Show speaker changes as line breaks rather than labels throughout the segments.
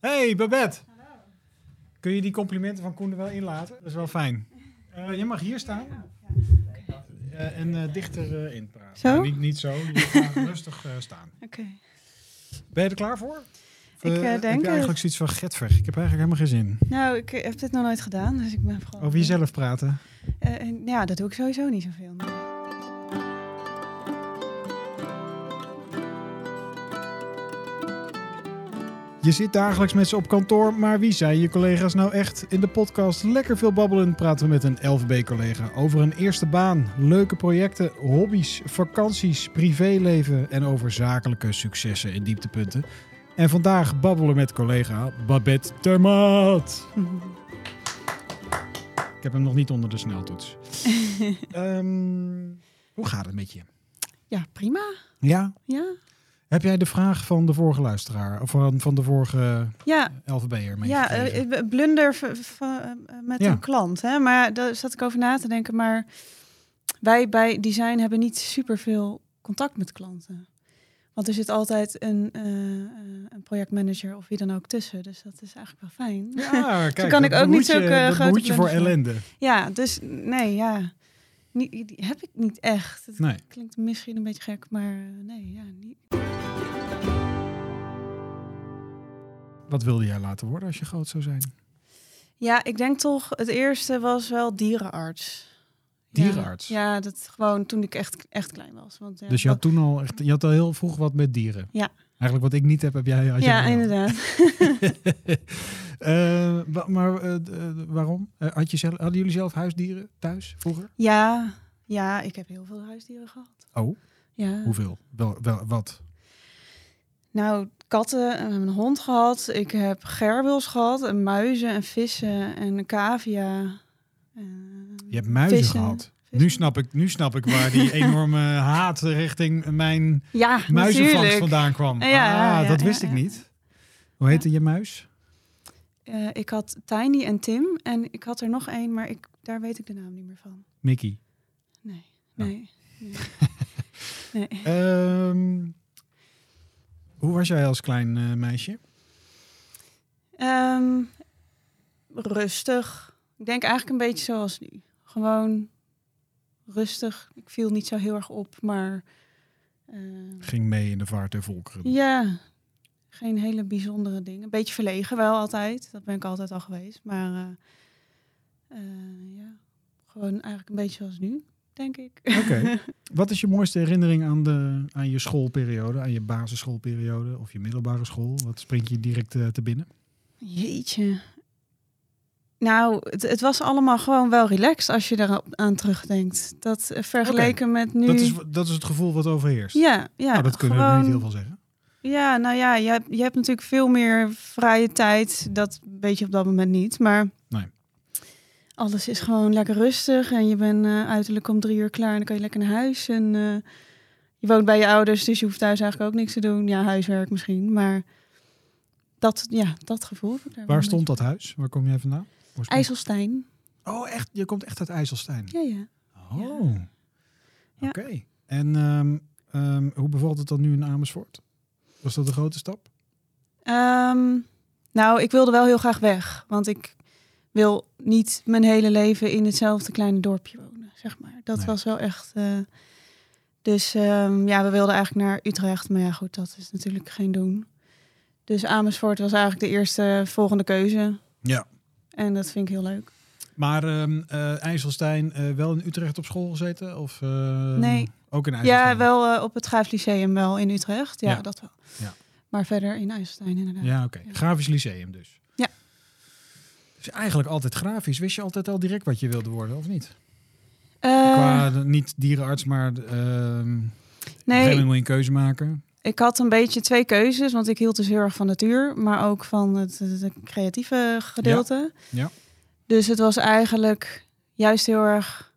Hey Babette. Kun je die complimenten van Koen er wel inlaten? Dat is wel fijn. Eh, je mag hier staan. Eh, en eh, dichter eh, in praten.
Zo?
Nee, Niet, niet zo. Je gaat rustig eh, staan.
Oké.
Ben je er klaar voor? Of,
Ik, eh,
eh,
denk
Heb je
het.
eigenlijk zoiets van getver? Ik heb eigenlijk helemaal geen zin.
Nou, ik eh, heb dit nog nooit gedaan, dus ik ben gewoon...
Over jezelf praten.
Eh, en- ja, dat doe ik sowieso niet zoveel.
Je zit dagelijks met ze op kantoor, maar wie zijn je collega's nou echt? In de podcast Lekker Veel Babbelen praten we met een LVB-collega over een eerste baan, leuke projecten, hobby's, vakanties, privéleven en over zakelijke successen en dieptepunten. En vandaag babbelen met collega Babette Termaat. Ik heb hem nog niet onder de sneltoets. Ehm, hoe gaat het met je?
Ja, prima.
Ja?
Ja,
Heb jij de vraag van de vorige luisteraar, of van, van de vorige
ja,
LVB'er
ja eh,
meegekregen?
eh, blunder v- v- eh, met
Ja.
een klant. Hè? Maar daar zat ik over na te denken. Maar wij bij design hebben niet superveel contact met klanten. Want er zit altijd een, eh, eh, een projectmanager of wie dan ook tussen. Dus dat is eigenlijk wel fijn.
Ja, kijk,
kan
dat
ik ook niet
behoed je-
zulke
dat
grote
behoed je voor
blunders
ellende.
Ja, dus nee, ja. Niet, die heb ik niet echt. Het
Nee.
klinkt misschien een beetje gek, maar eh, nee, ja, niet.
Wat wilde jij laten worden als je groot zou zijn?
Ja, ik denk toch, het eerste was wel dierenarts. Ja.
Dierenarts?
Ja, dat gewoon toen ik echt, echt klein was. Want, ja,
Dus je had toen al echt, je had al heel vroeg wat met dieren.
Ja.
Eigenlijk wat ik niet heb, heb jij. Had
dat-
jij
ja,
wel.
inderdaad.
Eh, wa- maar eh, d- eh, waarom? Eh, had je zelf, hadden jullie zelf huisdieren thuis vroeger?
Ja, ja, ik heb heel veel huisdieren gehad.
Oh,
Ja.
hoeveel? Wel, wel, wat?
Nou, katten en een hond gehad. Ik heb gerbils gehad en muizen en vissen en een cavia. Eh,
Je hebt muizen
Vissen.
gehad.
vissen.
Nu snap, ik, nu snap ik waar die enorme haat richting mijn
Ja,
muizenvangst
natuurlijk.
vandaan kwam.
Ja, ja,
ah,
ja,
dat
ja,
wist
ja.
ik niet. Hoe heette je muis?
Eh, ik had Tiny en Tim en ik had er nog één, maar ik, daar weet ik de naam niet meer van.
Mickey.
Nee,
Oh.
nee, nee. nee.
Ehm, hoe was jij als klein eh, meisje?
Ehm, rustig. Ik denk eigenlijk een beetje zoals nu. Gewoon rustig. Ik viel niet zo heel erg op, maar ehm,
Ging mee in de vaart der volkeren.
ja, geen hele bijzondere dingen. Een beetje verlegen wel altijd. Dat ben ik altijd al geweest. Maar eh, eh, ja, gewoon eigenlijk een beetje zoals nu, denk ik.
Oké. Wat is je mooiste herinnering aan, de, aan je schoolperiode, aan je basisschoolperiode of je middelbare school? Wat springt je direct eh, te binnen?
Jeetje. Nou, het, het was allemaal gewoon wel relaxed als je daar aan terugdenkt. Dat eh, vergeleken met nu.
Dat, is, dat is het gevoel wat overheerst.
Ja, ja.
nou, dat kunnen we
gewoon,
niet heel veel zeggen.
Ja, nou ja, je, hebt- je hebt natuurlijk veel meer vrije tijd. Dat weet je op dat moment niet, maar...
Nee.
Alles is gewoon lekker rustig en je bent eh, uiterlijk om drie uur klaar en dan kan je lekker naar huis. En eh, je woont bij je ouders, dus je hoeft thuis eigenlijk ook niks te doen. Ja, huiswerk misschien, maar dat, ja, dat gevoel heb ik daar wel
Waar
een
stond dat huis? Waar kom jij vandaan? Oorsprong?
beetje. IJsselstein,
Oh, echt? Je komt echt uit IJsselstein?
ja, ja.
Oh.
Ja.
Oké. En ehm, ehm, hoe bevalt het dan nu in Amersfoort? Was dat een grote stap?
Ehm, nou, ik wilde wel heel graag weg. Want ik wil niet mijn hele leven in hetzelfde kleine dorpje wonen, zeg maar. Dat
Nee.
was wel echt... eh, dus ehm, ja, we wilden eigenlijk naar Utrecht. Maar ja, goed, dat is natuurlijk geen doen. Dus Amersfoort was eigenlijk de eerste volgende keuze.
Ja.
En dat vind ik heel leuk.
Maar ehm, eh, IJsselstein, eh, wel in Utrecht op school gezeten? Of, ehm,
Nee.
Ook in IJsselstein?
Ja, wel eh, op het Graaf Lyceum wel in Utrecht. Ja,
Ja.
dat wel.
Ja.
Maar verder in IJsselstein inderdaad.
Ja, oké. Grafisch lyceum dus.
Ja.
Dus eigenlijk altijd grafisch. Wist je altijd al direct wat je wilde worden, of niet?
Eh,
Qua de- niet dierenarts, maar de, ehm, op een gegeven
nee,
moment moet je een keuze maken.
Ik had een beetje twee keuzes, want ik hield dus heel erg van natuur, maar ook van het, het- het creatieve gedeelte.
Ja, ja.
Dus het was eigenlijk juist heel erg.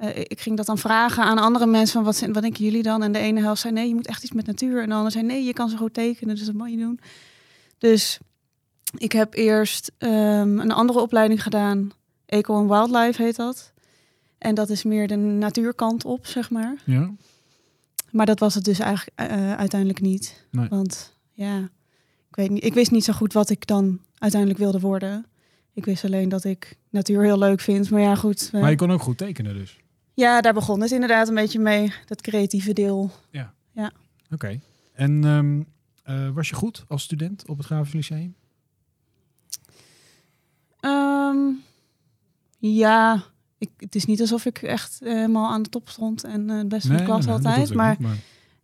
eh, ik ging dat dan vragen aan andere mensen van wat, zijn- wat denken jullie dan? En de ene helft zei nee, je moet echt iets met natuur. En de ander zei nee, je kan zo goed tekenen, dus dat moet je doen. Dus ik heb eerst ehm, een andere opleiding gedaan. Eco en Wildlife heet dat. En dat is meer de natuurkant op, zeg maar.
Ja.
Maar dat was het dus eigenlijk eh, uiteindelijk eh, niet.
Nee.
Want ja, Ik, weet niet, ik wist niet zo goed wat ik dan uiteindelijk wilde worden. Ik wist alleen dat ik natuur heel leuk vind. Maar ja, goed. eh,
Maar je kon ook goed tekenen dus.
Ja, daar begon het inderdaad een beetje mee. Dat creatieve deel.
Oké. En ehm, eh, was je goed als student op het Grafisch Lyceum?
Ehm, ja, ik, het is niet alsof ik echt eh, helemaal aan de top stond. En eh, het beste van de klas
dat
altijd.
hoeft ook
Maar
niet, maar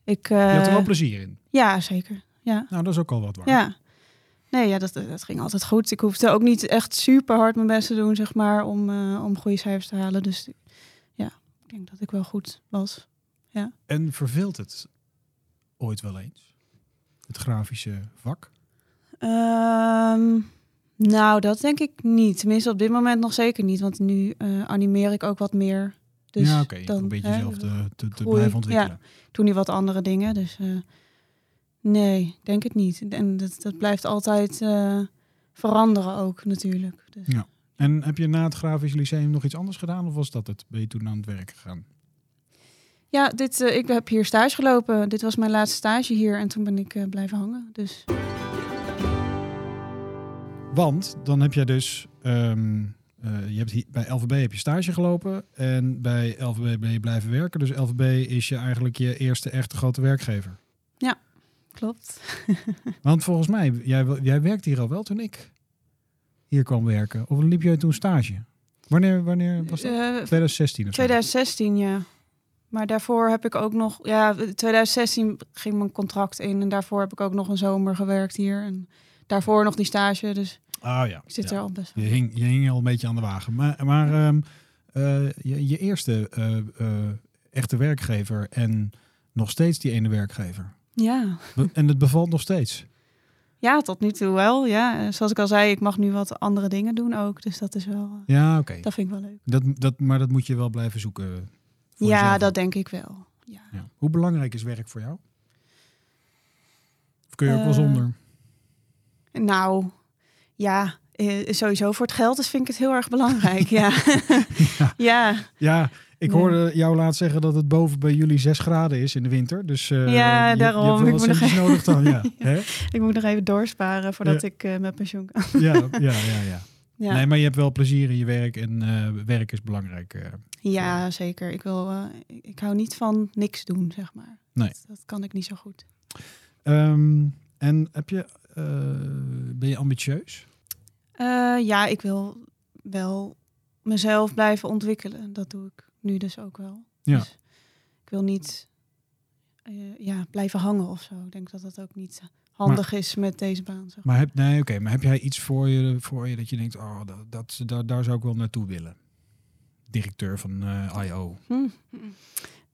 ik...
je had er wel
eh,
plezier in.
ja, zeker. Ja.
Nou, dat is ook al wat waard.
Ja. Nee, ja, dat, dat ging altijd goed. Ik hoefde ook niet echt super hard mijn best te doen, zeg maar, om, eh, om goede cijfers te halen. Dus ja, ik denk dat ik wel goed was.
En verveelt het ooit wel eens? Het grafische vak?
Ehm, nou, dat denk ik niet. Tenminste, op dit moment nog zeker niet. Want nu eh, animeer ik ook wat meer. Dus
ja, oké. je
dan,
probeert
hè,
jezelf te, te, te
groei.
blijven ontwikkelen.
Ik doe nu wat andere dingen. Dus eh, nee, ik denk het niet. En dat, dat blijft altijd eh, veranderen ook natuurlijk. Dus.
En heb je na het Grafisch Lyceum nog iets anders gedaan? Of was dat het? Ben je toen aan het werk gegaan?
Ja, dit, eh, ik heb hier stage gelopen. Dit was mijn laatste stage hier en toen ben ik eh, blijven hangen. Dus
Want dan heb jij dus... ehm, eh, je hebt hier, bij LVB heb je stage gelopen en bij LVB ben je blijven werken. Dus LVB is je eigenlijk je eerste echte grote werkgever.
klopt.
Want volgens mij, jij, jij werkte hier al wel toen ik hier kwam werken. Of liep jij toen stage? Wanneer, wanneer was dat?
Eh,
2016 of zo?
2016, ja. Maar daarvoor heb ik ook nog... Ja, 2016 ging mijn contract in en daarvoor heb ik ook nog een zomer gewerkt hier. En daarvoor nog die stage, dus
Ah ja.
ik zit
ja.
er al best
Je
wel.
hing, je hing al een beetje aan de wagen. Maar, maar ehm, eh, je, je eerste eh, eh, echte werkgever en nog steeds die ene werkgever.
Ja.
Be- en het bevalt nog steeds.
ja, tot nu toe wel. Ja, Eh, zoals ik al zei, ik mag nu wat andere dingen doen ook. Dus dat is wel... eh,
Ja, oké.
Dat vind ik wel leuk.
Dat, dat, maar dat moet je wel blijven zoeken. voor
ja,
jezelf.
dat denk ik wel. Ja.
Ja. Hoe belangrijk is werk voor jou? Of kun je ook wel
Eh,
zonder?
Nou, ja, eh, sowieso voor het geld dus vind ik het heel erg belangrijk. ja.
Ja.
ja. ja,
Ja, ik
Nee.
hoorde jou laat zeggen dat het boven bij jullie 6 graden is in de winter. Dus eh,
Ja, daarom.
Je, je
Ik
hebt wel
moet
wat
nog
centjes
even-
nodig dan, ja.
Ja.
Hè?
ik moet nog even doorsparen voordat ik eh, met pensioen kan.
Ja, ja, ja, ja.
Ja,
Nee, maar je hebt wel plezier in je werk en eh, werk is belangrijk. eh.
ja zeker. Ik, wil, eh, ik- ik hou niet van niks doen, zeg maar.
Nee.
Dat, dat kan ik niet zo goed.
Ehm, en heb je, eh, ben je ambitieus?
Eh, ja, ik wil wel mezelf blijven ontwikkelen. Dat doe ik nu dus ook wel.
Ja.
Dus ik wil niet eh, ja, blijven hangen of zo. Ik denk dat dat ook niet handig is met deze baan. Zeg.
Maar heb, nee, oké, maar heb jij iets voor je, voor je dat je denkt, oh, dat, dat, daar, daar zou ik wel naartoe willen? Directeur van eh, I.O.
Hm.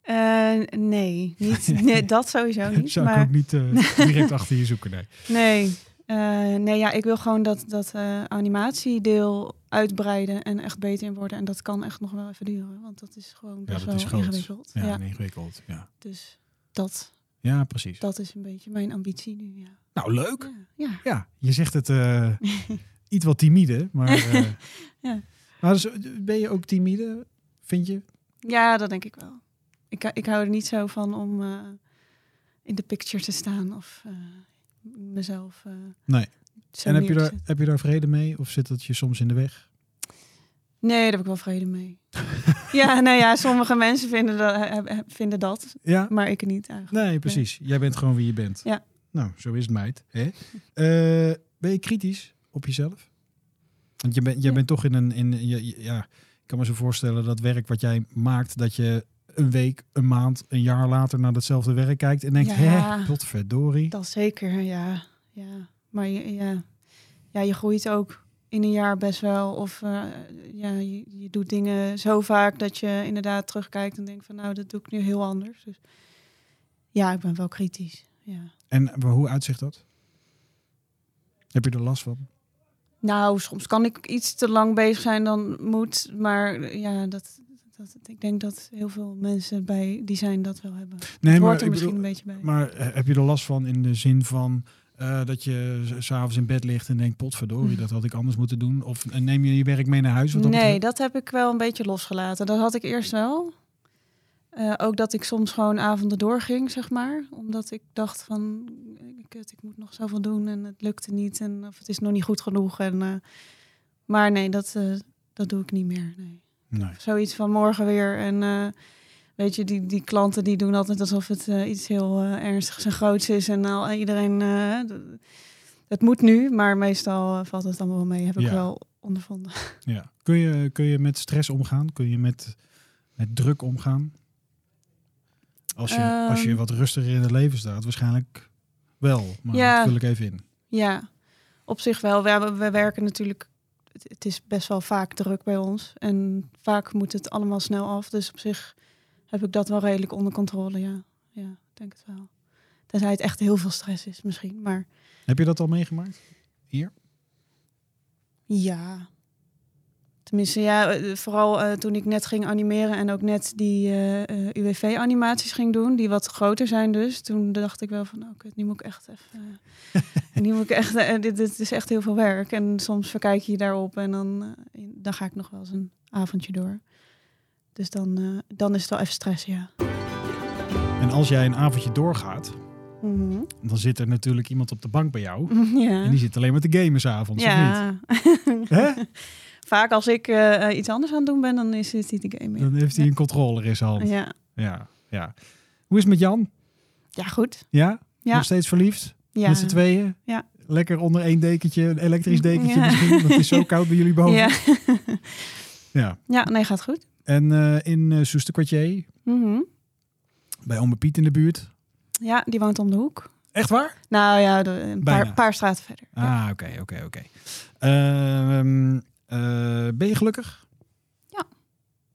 Eh, nee, niet, nee, dat sowieso niet.
Zou
maar
ik ook niet eh, direct achter je zoeken, nee.
nee, Eh, nee ja, ik wil gewoon dat, dat eh, animatiedeel uitbreiden en echt beter in worden. En dat kan echt nog wel even duren, want dat is gewoon best
dat
wel
is groot.
ingewikkeld.
Ja,
Ja,
en ingewikkeld, ja.
Dus dat,
Ja, precies.
dat is een beetje mijn ambitie nu. Ja,
Nou, leuk.
ja, ja.
Ja, je zegt het eh, iets wat timide, maar. eh,
Ja.
maar dus, ben je ook timide, vind je?
Ja, dat denk ik wel. Ik, ik hou er niet zo van om eh, in de picture te staan of eh, mezelf. eh,
Nee.
zo
En heb je,
neer te
daar,
zetten.
heb je daar vrede mee of zit dat je soms in de weg?
Nee, daar heb ik wel vrede mee. ja, nou ja, sommige mensen vinden dat, heb- heb- vinden dat
Ja.
maar ik niet eigenlijk.
Nee, precies. Jij bent gewoon wie je bent.
Ja.
Nou, zo is het, meid. Hè? Eh, ben je kritisch op jezelf? Want je bent, jij
Ja.
bent toch in een. In, je- je- ja, ik kan me zo voorstellen dat werk wat jij maakt, dat je een week, een maand, een jaar later naar datzelfde werk kijkt en denkt:
Ja.
hè, potverdorie.
Dat zeker, ja. ja. Maar je, ja. ja, je groeit ook in een jaar best wel. Of eh, ja, je, je doet dingen zo vaak dat je inderdaad terugkijkt en denkt van nou, dat doe ik nu heel anders. Dus ja, ik ben wel kritisch. Ja.
En hoe uitzicht dat? Heb je er last van?
Nou, soms kan ik iets te lang bezig zijn dan moet. Maar eh, ja, dat, dat, ik denk dat heel veel mensen bij die zijn dat wel hebben.
Nee,
Het hoort er
ik
misschien
bedoel-
een beetje bij.
maar eh, heb je er last van in de zin van eh, dat je s- s'avonds in bed ligt en denkt, potverdorie, dat had ik anders moeten doen? Of eh, neem je je werk mee naar huis? Wat dat
Mm. nee,
betreft?
dat heb ik wel een beetje losgelaten. Dat had ik eerst wel. Eh, ook dat ik soms gewoon avonden doorging, zeg maar. Omdat ik dacht van, ik kut, ik moet nog zoveel doen en het lukte niet en of het is nog niet goed genoeg. En, eh, maar nee, dat, eh, dat doe ik niet meer. Nee.
Nee.
Zoiets van morgen weer. En eh, weet je, die, die klanten die doen altijd alsof het eh, iets heel eh, ernstigs en groots is. En al iedereen, eh, d- het moet nu, maar meestal eh, valt het allemaal wel mee. Heb ik
Ja.
wel ondervonden.
Ja. Kun, je, kun je met stress omgaan? Kun je met, met druk omgaan? Als je, als je
Ehm.
wat rustiger in het leven staat, waarschijnlijk wel. Maar
Ja.
dat vul ik even in.
Ja, op zich wel. We, we- we werken natuurlijk, het, het is best wel vaak druk bij ons. En vaak moet het allemaal snel af. Dus op zich heb ik dat wel redelijk onder controle, ja. Ja, ik denk het wel. Tenzij het echt heel veel stress is misschien. Maar
Heb je dat al meegemaakt?
ja, tenminste ja, eh, vooral eh, toen ik net ging animeren en ook net die eh, eh, UWV-animaties ging doen, die wat groter zijn dus. Toen dacht ik wel van, nou kut, nu moet ik echt even... eh, En die moet ik echt, eh, dit, dit is echt heel veel werk. En soms verkijk je je daarop en dan, eh, dan ga ik nog wel eens een avondje door. Dus dan, eh, dan is het wel even stress, ja.
En als jij een avondje doorgaat,
Mhm.
dan zit er natuurlijk iemand op de bank bij jou.
Ja.
En die zit alleen maar te gamen s'avonds, of
ja.
niet? Hè?
Vaak als ik eh, eh, iets anders aan het doen ben, dan is het niet de game.
Dan heeft hij een controller in zijn hand.
Ja.
Ja, ja. Hoe is het met Jan?
ja, goed.
Ja?
Ja.
Nog steeds verliefd?
Ja.
Met z'n tweeën?
Ja.
Lekker onder één dekentje, een elektrisch dekentje
Ja.
misschien, want het is zo koud bij jullie boven.
Ja.
Ja.
ja, nee, gaat goed.
En eh, in eh Soesterkwartier,
Mhm.
bij Ome Piet in de buurt.
Ja, die woont om de hoek.
Echt waar?
Nou ja, de- een
Bijna.
paar, paar straten verder. Ja.
Ah, oké, oké, oké. Ehm, eh, ben je gelukkig?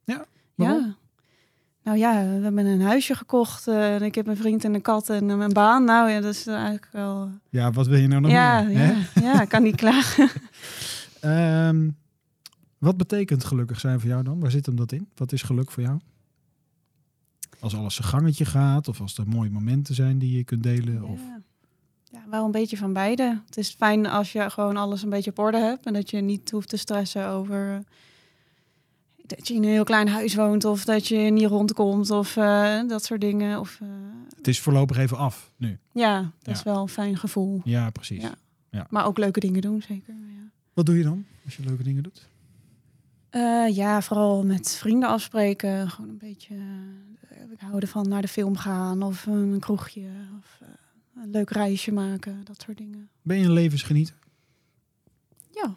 waarom?
Ja. Nou ja, we hebben een huisje gekocht. eh, en ik heb een vriend en een kat en eh, een baan. Nou ja, dat is eigenlijk wel...
Ja, wat wil je nou nog
ja,
meer? hè?
ja, ja, ik kan niet klagen.
Ehm, wat betekent gelukkig zijn voor jou dan? Waar zit hem dat in? Wat is geluk voor jou? Als alles zijn gangetje gaat, of als er mooie momenten zijn die je kunt delen. Of...
Ja. ja, wel een beetje van beide. Het is fijn als je gewoon alles een beetje op orde hebt. En dat je niet hoeft te stressen over... eh, dat je in een heel klein huis woont. Of dat je niet rondkomt. Of eh, dat soort dingen. Of, eh,
Het is voorlopig even af nu.
ja, dat is
Ja.
wel een fijn gevoel.
Ja, precies.
Ja. Maar ook leuke dingen doen, zeker. Ja.
Wat doe je dan als je leuke dingen doet?
Eh, ja, vooral met vrienden afspreken. Gewoon een beetje. eh, ik hou ervan naar de film gaan of een kroegje of eh, een leuk reisje maken, dat soort dingen.
Ben je een levensgenieter?
Ja.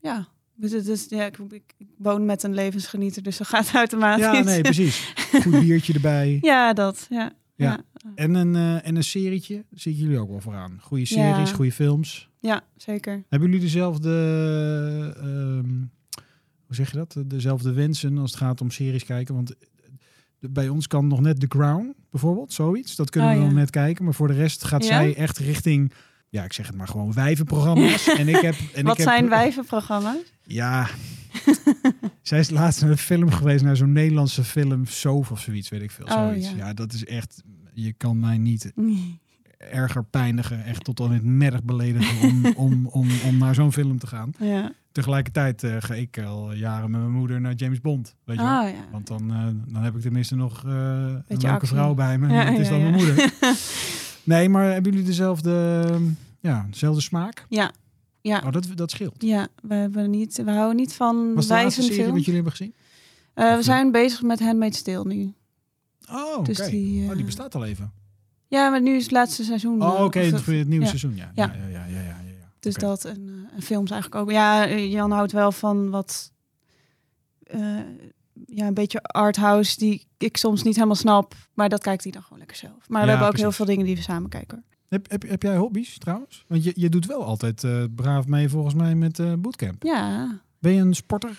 Ja. Dus het is, ja ik, ik woon met een levensgenieter, dus dat gaat automatisch.
Ja, nee, precies. Goed biertje erbij.
ja dat. Ja.
Ja.
Ja.
En een, eh, en een serietje zie ik jullie ook wel vooraan. Goede
Ja.
series, goede films.
ja, zeker.
Hebben jullie dezelfde, ehm, hoe zeg je dat? Dezelfde wensen als het gaat om series kijken? Want de- bij ons kan nog net The Crown bijvoorbeeld, zoiets. Dat kunnen
Oh,
we
ja.
nog net kijken. Maar voor de rest gaat
Ja?
zij echt richting, ja, ik zeg het maar gewoon wijvenprogramma's. en ik heb, en
Wat
ik heb,
zijn wijvenprogramma's?
Ja. Zij is laatst naar een film geweest, naar zo'n Nederlandse film, Sof of zoiets, weet ik veel.
Oh,
zoiets.
ja.
Ja. dat is echt, je kan mij niet erger pijnigen, echt tot aan het merg beledigen om, om, om, om naar zo'n film te gaan.
Ja.
Tegelijkertijd eh, ga ik al jaren met mijn moeder naar James Bond, weet je wel.
Ah, ja.
Want dan, eh, dan heb ik tenminste nog eh een
Beetje
leuke
actie.
vrouw bij me. en
Ja,
het is
ja,
dan
ja.
mijn moeder. Nee, maar hebben jullie dezelfde, eh, ja, dezelfde smaak?
Ja. Ja.
Oh, dat, dat scheelt.
Ja, we, hebben niet, we houden niet van
Was de laatste
wijzend
serie
film.
wat jullie hebben gezien?
Eh, we
Of-
zijn bezig met Handmaid's Steel nu.
Oh, oké.
Dus die, eh,
Oh, die bestaat al even.
Ja, maar nu is het laatste seizoen.
Oh,
eh,
oké,
of
het,
dat-
het nieuwe
ja.
seizoen, ja. Ja,
Ja.
ja, ja, ja. ja, ja.
Dus
Oké.
dat en, eh, en films eigenlijk ook. Ja, eh, Jan houdt wel van wat... eh, ja, een beetje arthouse die ik soms niet helemaal snap. Maar dat kijkt hij dan gewoon lekker zelf. Maar
Ja,
we hebben ook
precies.
heel veel dingen die we samen kijken. hoor.
Heb, heb, heb jij hobby's trouwens? Want je, je doet wel altijd eh, braaf mee volgens mij met eh, bootcamp.
Ja,
Ben je een sporter?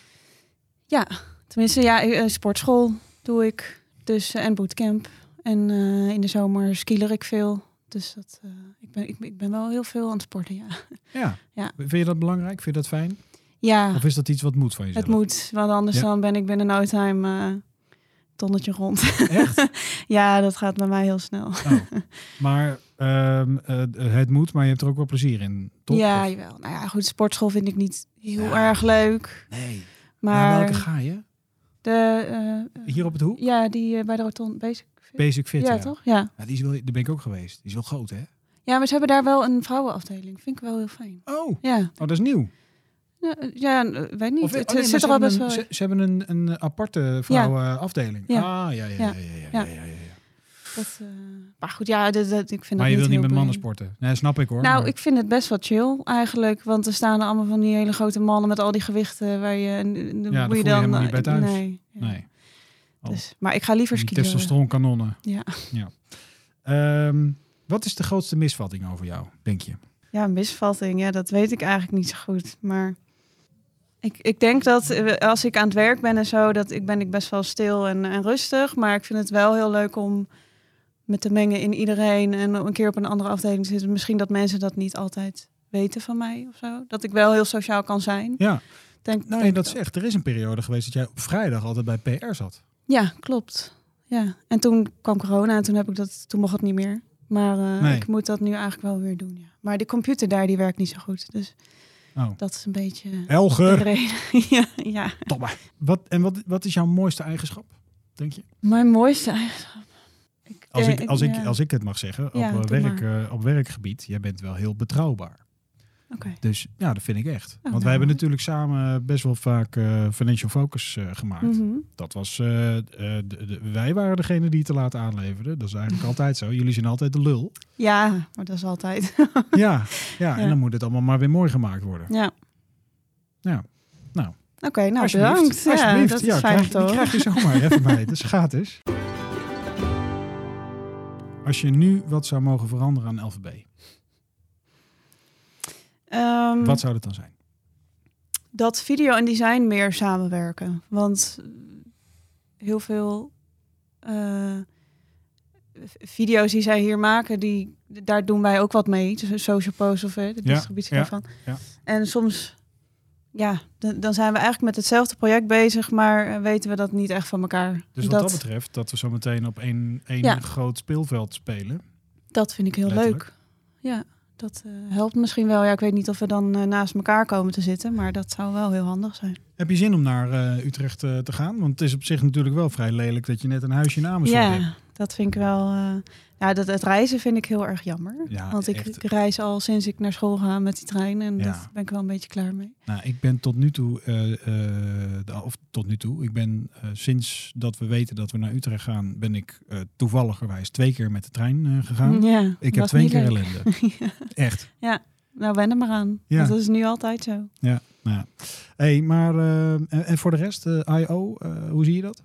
tenminste, ja, eh, sportschool doe ik. Dus, eh, en bootcamp. En eh, in de zomer skieler ik veel. Dus dat, eh, ik, ben, ik, ik ben wel heel veel aan het sporten, ja.
Ja.
Ja.
Vind je dat belangrijk? Vind je dat fijn?
Ja.
Of is dat iets wat moet van jezelf?
Het moet, want anders
Ja.
dan ben ik binnen no time eh, tonnetje rond.
Echt?
ja, dat gaat bij mij heel snel.
Oh. Maar ehm, eh, het moet, maar je hebt er ook wel plezier in, toch?
ja,
Of-
jawel. Nou ja, goed, sportschool vind ik niet heel
Ja.
erg leuk.
Nee. Naar
Maar
welke ga je?
de, eh, eh,
Hier op het hoek?
ja, die eh, bij de rotonde Basic Fit.
Basic Fit,
ja,
ja.
toch? Ja.
Ja, die, is wel, daar ben ik ook geweest. Die is wel groot, hè?
ja, Ja, maar ze hebben daar wel een vrouwenafdeling. Vind ik wel heel fijn.
Oh, oh
Ja,
dat is nieuw.
ja, eh, ja weet niet.
Of,
het
oh nee,
het
maar
zit
ze
er wel
hebben
best
een-
wel...
Ze, ze hebben een, een aparte vrouwenafdeling.
Ja.
Ah, ja, ja, ja, ja, ja, ja,
Ja.
ja, ja.
dat, eh, maar goed, ja, dat, dat- ik vind
Maar je wilt
dat
niet
heel
met mannen
boeiend.
sporten. Nee, snap ik hoor.
Nou,
maar-
ik vind het best wel chill eigenlijk. Want er staan allemaal van die hele grote mannen met al die gewichten waar je... En, en,
daar
hoe
voel je
je dan, eh,
helemaal niet bij thuis.
Nee. ja.
Nee, Oh.
Dus, maar ik ga liever
die
skiën.
testosteronkanonnen.
Ja.
ja. Ehm, wat is de grootste misvatting over jou, denk je?
Ja, misvatting. Ja, dat weet ik eigenlijk niet zo goed. Maar ik, ik denk dat eh, als ik aan het werk ben en zo, dat ik ben ik best wel stil en, en rustig. Maar ik vind het wel heel leuk om me te mengen in iedereen en een keer op een andere afdeling te zitten. Misschien dat mensen dat niet altijd weten van mij of zo. Dat ik wel heel sociaal kan zijn.
Ja,
Denk,
nou je
denk
dat
ik
zegt. Er is een periode geweest dat jij op vrijdag altijd bij PR zat.
Ja, klopt. Ja. En toen kwam corona en toen, heb ik dat, toen mocht het niet meer. Maar eh,
Nee.
ik moet dat nu eigenlijk wel weer doen. Ja. Maar die computer daar die werkt niet zo goed. Dus
Oh.
dat is een beetje de
Elger,
reden. ja, ja.
domme. Wat, en wat, wat is jouw mooiste eigenschap, denk je?
Mijn mooiste eigenschap. Ik
Als
denk-
ik, als ik,
Eh, ja,
als ik het mag zeggen, op,
Ja,
eh,
doe
werk, eh, op werkgebied, jij bent wel heel betrouwbaar.
oké.
Dus ja, dat vind ik echt. Want
nou.
wij hebben natuurlijk samen best wel vaak eh, Financial Focus eh, gemaakt.
Mhm.
Dat was, eh, eh, de- de- wij waren degene die het te laat aanleverde. Dat is eigenlijk altijd zo. Jullie zijn altijd de lul.
Ja, maar dat is altijd.
Ja, ja, en
Ja.
dan moet het allemaal maar weer mooi gemaakt worden.
ja.
Ja. Nou.
Oké, nou
Alsjeblieft.
bedankt. Ja,
Alsjeblieft.
dat is
Ja,
fijn
krijg, die
toch?
krijg je zomaar even van mij. Dat is gratis. Als je nu wat zou mogen veranderen aan LVB,
Ehm,
wat zou dat dan zijn?
dat video en design meer samenwerken. Want heel veel eh, v- video's die zij hier maken, die, daar doen wij ook wat mee. Dus social post of eh, de
Ja,
distributie
ja,
daarvan.
ja.
En soms, ja, dan, dan zijn we eigenlijk met hetzelfde project bezig, maar eh, weten we dat niet echt van elkaar.
Dus wat dat, betreft, dat we zo meteen op één, één
Ja.
groot speelveld spelen.
dat vind ik heel
Letterlijk.
leuk. Ja, dat eh, helpt misschien wel. Ja, ik weet niet of we dan eh, naast elkaar komen te zitten, maar dat zou wel heel handig zijn.
Heb je zin om naar eh, Utrecht eh, te gaan? Want het is op zich natuurlijk wel vrij lelijk dat je net een huisje in Amersfoort hebt.
Ja, dat vind ik wel. eh, ja, dat, het reizen vind ik heel erg jammer.
Ja,
Want ik,
echt.
ik reis al sinds ik naar school ga met die trein en
Ja.
daar ben ik wel een beetje klaar mee.
Nou, ik ben tot nu toe, eh, eh, de- of tot nu toe, ik ben eh, sinds dat we weten dat we naar Utrecht gaan, ben ik eh, toevalligerwijs twee keer met de trein eh, gegaan.
Ja,
Ik heb
was
twee
niet
keer
leuk.
ellende.
Ja.
Echt.
Nou, wen er maar aan.
Ja.
Want dat is nu altijd zo.
hey, maar eh, en, en voor de rest, eh, I.O., eh, hoe zie je dat?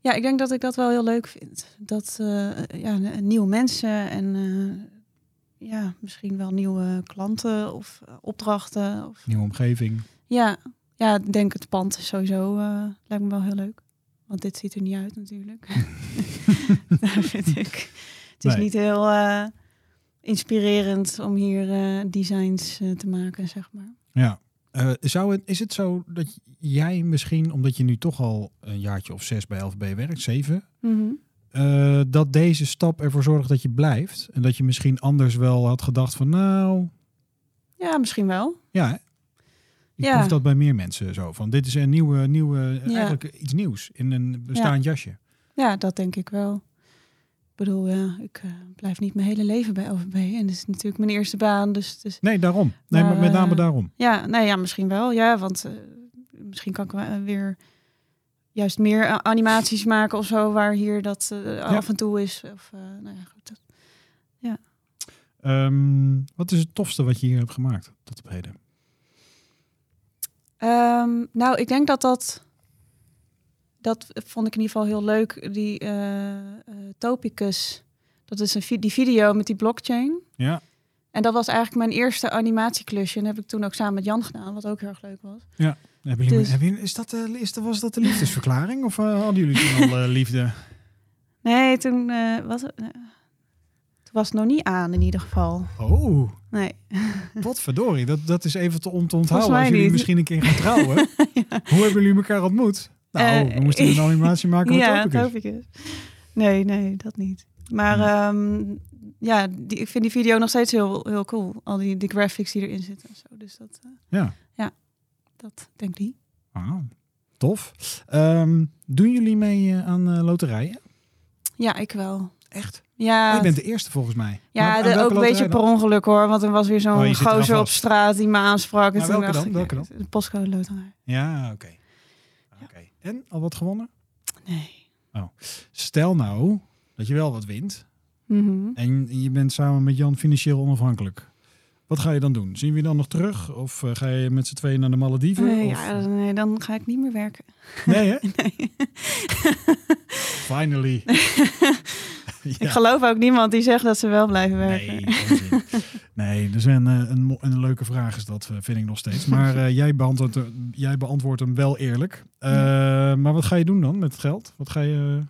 Ja, ik denk dat ik dat wel heel leuk vind. Dat eh, ja, n- nieuwe mensen en eh, ja, misschien wel nieuwe klanten of eh, opdrachten. Of,
Nieuwe omgeving.
ja, ja, ik denk het pand is sowieso eh, lijkt me wel heel leuk. Want dit ziet er niet uit natuurlijk. Dat vind ik. Het is
Nee.
niet heel eh, inspirerend om hier eh, designs eh, te maken, zeg maar.
Ja. Eh, zou het, is het zo dat jij misschien, omdat je nu toch al een jaartje of zes bij LVB werkt, zeven, eh, dat deze stap ervoor zorgt dat je blijft? En dat je misschien anders wel had gedacht van, nou,
Ja, misschien wel.
Ja, hè? ik
Ja.
proef dat bij meer mensen zo. Van dit is een nieuwe, nieuwe
Ja.
eigenlijk iets nieuws in een bestaand jasje.
Ja, dat denk ik wel. Ik bedoel, ja, ik eh, blijf niet mijn hele leven bij LVB. En dit is natuurlijk mijn eerste baan. Dus, dus
Nee, daarom. Nee, maar,
Maar,
met name
eh,
daarom.
ja, nou ja, misschien wel. Ja, want eh, misschien kan ik wel, eh, weer juist meer eh, animaties maken of zo. Waar hier dat eh, af en toe is. Of, eh, nou ja, goed. Dat,
Ehm, wat is het tofste wat je hier hebt gemaakt tot op heden?
Ehm, nou, ik denk dat dat. Dat vond ik in ieder geval heel leuk. Die eh, eh, Topicus. Dat is een vi- die video met die blockchain.
Ja,
En dat was eigenlijk mijn eerste animatieklusje. En dat heb ik toen ook samen met Jan gedaan, wat ook heel erg leuk was.
hebben jullie,
Dus-
hebben jullie- is dat, de- is, dat- was dat de liefdesverklaring of eh, hadden jullie toen al eh, liefde?
Nee, toen, eh, was, het- eh, toen was het nog niet aan in ieder geval.
Oh,
Nee.
wat verdorie. Dat, dat is even te om te onthouden
mij
als jullie
niet.
misschien een keer gaan trouwen. Hoe hebben jullie elkaar ontmoet? Nou,
Eh,
we moesten een animatie maken met
ja,
Topicus.
Topicus. Nee, nee, dat niet. Maar ehm, ja, die, ik vind die video nog steeds heel, heel cool. Al die, die graphics die erin zitten en zo. Dus dat, eh,
Ja.
dat denk ik.
Ah, tof. Ehm, doen jullie mee eh, aan eh, loterijen?
Ja, ik wel.
Echt?
Ja,
Oh, je bent de eerste volgens mij. Maar
ja
aan
de-
welke
ook een beetje
loterij
per
dan?
ongeluk hoor. Want er was weer
Oh, je
zo'n
zit eraan
gozer op
vast.
straat die me aansprak. En
Maar
toen
welke
dacht
dan?
ik,
Welke dan?
De postcode loterij.
Ja, oké. Oké. En al wat gewonnen?
Nee.
Stel nou dat je wel wat wint
Mhm.
en je bent samen met Jan financieel onafhankelijk. Wat ga je dan doen? Zien we je dan nog terug? Of eh, ga je met z'n tweeën naar de Malediven?
Nee,
Of-
Eh, ja, nee, dan ga ik niet meer werken.
nee hè? Finally.
Ik geloof ook niemand die zegt dat ze wel blijven werken.
Nee, onzin. nee, er zijn eh, een, mo- een leuke vraag is dat, eh, vind ik nog steeds. Maar eh, jij, beantwoordt, hem- jij beantwoordt hem wel eerlijk. Eh,
Hmm.
Maar wat ga je doen dan met het geld? Wat ga je...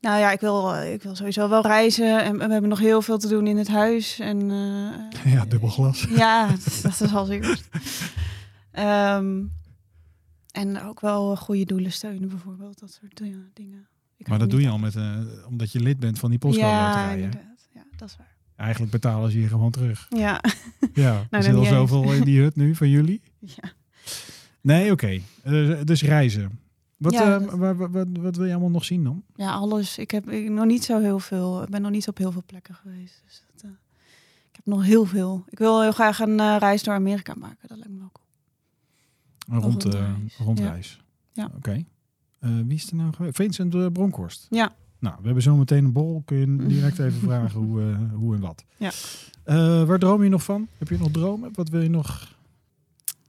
Nou ja, ik wil, eh, ik wil sowieso wel reizen. En we hebben nog heel veel te doen in het huis. En eh,
Ja, dubbel glas.
Ja, dat is al zeker. Ehm, en ook wel eh, goede doelen steunen, bijvoorbeeld. Dat soort eh, dingen. Ik
Maar dat
hou
doe
niet-
je al met, eh, omdat je lid bent van die postcode
Ja,
loterij, hè?
inderdaad. Ja, dat is waar.
Eigenlijk betalen ze je gewoon terug.
Ja.
Ja, er
dat
zit al
Nou, niet eens.
zoveel in die hut nu van jullie.
ja.
Nee, oké. Eh, dus reizen. Wat,
Ja,
eh,
dat-
waar- waar- wat, wat wil je allemaal nog zien dan?
ja, alles. Ik heb ik, nog niet zo heel veel. Ik ben nog niet op heel veel plekken geweest. Dus dat, eh, ik heb nog heel veel. Ik wil heel graag een eh, reis door Amerika maken. Dat lijkt me wel cool.
Een rond, eh,
rondreis.
rondreis.
Ja.
Oké. Eh, wie is er nou geweest? Vincent eh, Bronkhorst.
Ja.
Nou, we hebben zo meteen een bol. Kun je direct even vragen hoe, eh, hoe en wat.
Ja.
Eh, waar droom je nog van? Heb je nog dromen? Wat wil je nog?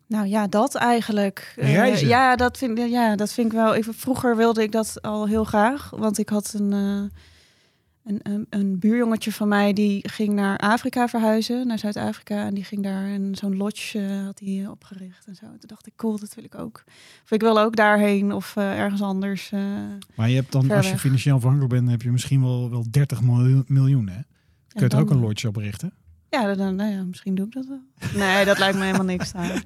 Nou ja, dat eigenlijk. Eh,
Reizen.
ja, dat vind, ja, dat vind ik wel. Ik, vroeger wilde ik dat al heel graag. Want ik had een, eh, een, een, een buurjongetje van mij die ging naar Afrika verhuizen, naar Zuid-Afrika. En die ging daar en zo'n lodge eh, had hij eh, opgericht en zo. Toen dacht ik, cool, dat wil ik ook. Of ik wil ook daarheen of eh, ergens anders. eh.
Maar je hebt dan,
Ver
als je
weg.
financieel afhankelijk bent, heb je misschien wel, wel 30 miljoen, miljoen hè?
En
Kun je er ook
dan-
een lodge oprichten?
Ja, dan- dan, nou ja, misschien doe ik dat wel. Nee, dat lijkt me helemaal niks. daar.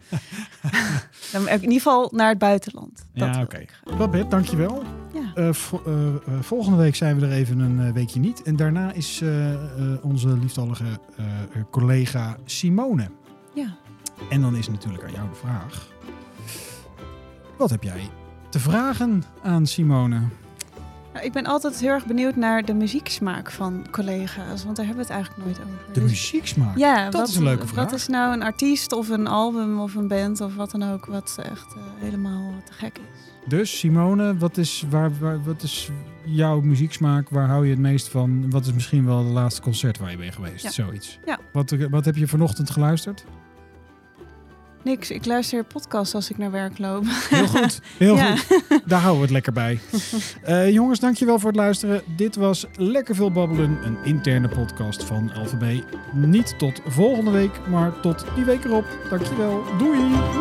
Dan in ieder geval naar het buitenland. Dat
Ja,
wil
oké.
ik graag.
Babette, dankjewel.
Ja.
Eh, vo- eh, eh, volgende week zijn we er even een eh, weekje niet. En daarna is eh, eh, onze liefdallige eh, eh, collega Simone.
ja.
En dan is natuurlijk aan jou de vraag. Wat heb jij te vragen aan Simone?
Nou, ik ben altijd heel erg benieuwd naar de muzieksmaak van collega's, want daar hebben we het eigenlijk nooit over.
De
Dus-
muzieksmaak.
Ja,
Dat
wat,
is een leuke vraag.
Wat is nou een artiest of een album of een band of wat dan ook, wat echt eh, helemaal te gek is?
Dus Simone, wat is, waar, waar- wat is jouw muzieksmaak? Waar hou je het meest van? Wat is misschien wel de laatste concert waar je bent geweest?
Ja.
Zoiets.
Ja.
Wat, wat heb je vanochtend geluisterd?
Niks, ik luister podcasts als ik naar werk loop.
Heel goed. Heel
ja.
goed. Daar houden we het lekker bij. Eh, jongens, dankjewel voor het luisteren. Dit was Lekker Veel Babbelen, een interne podcast van LVB. Niet tot volgende week, maar tot die week erop. Dankjewel. Doei!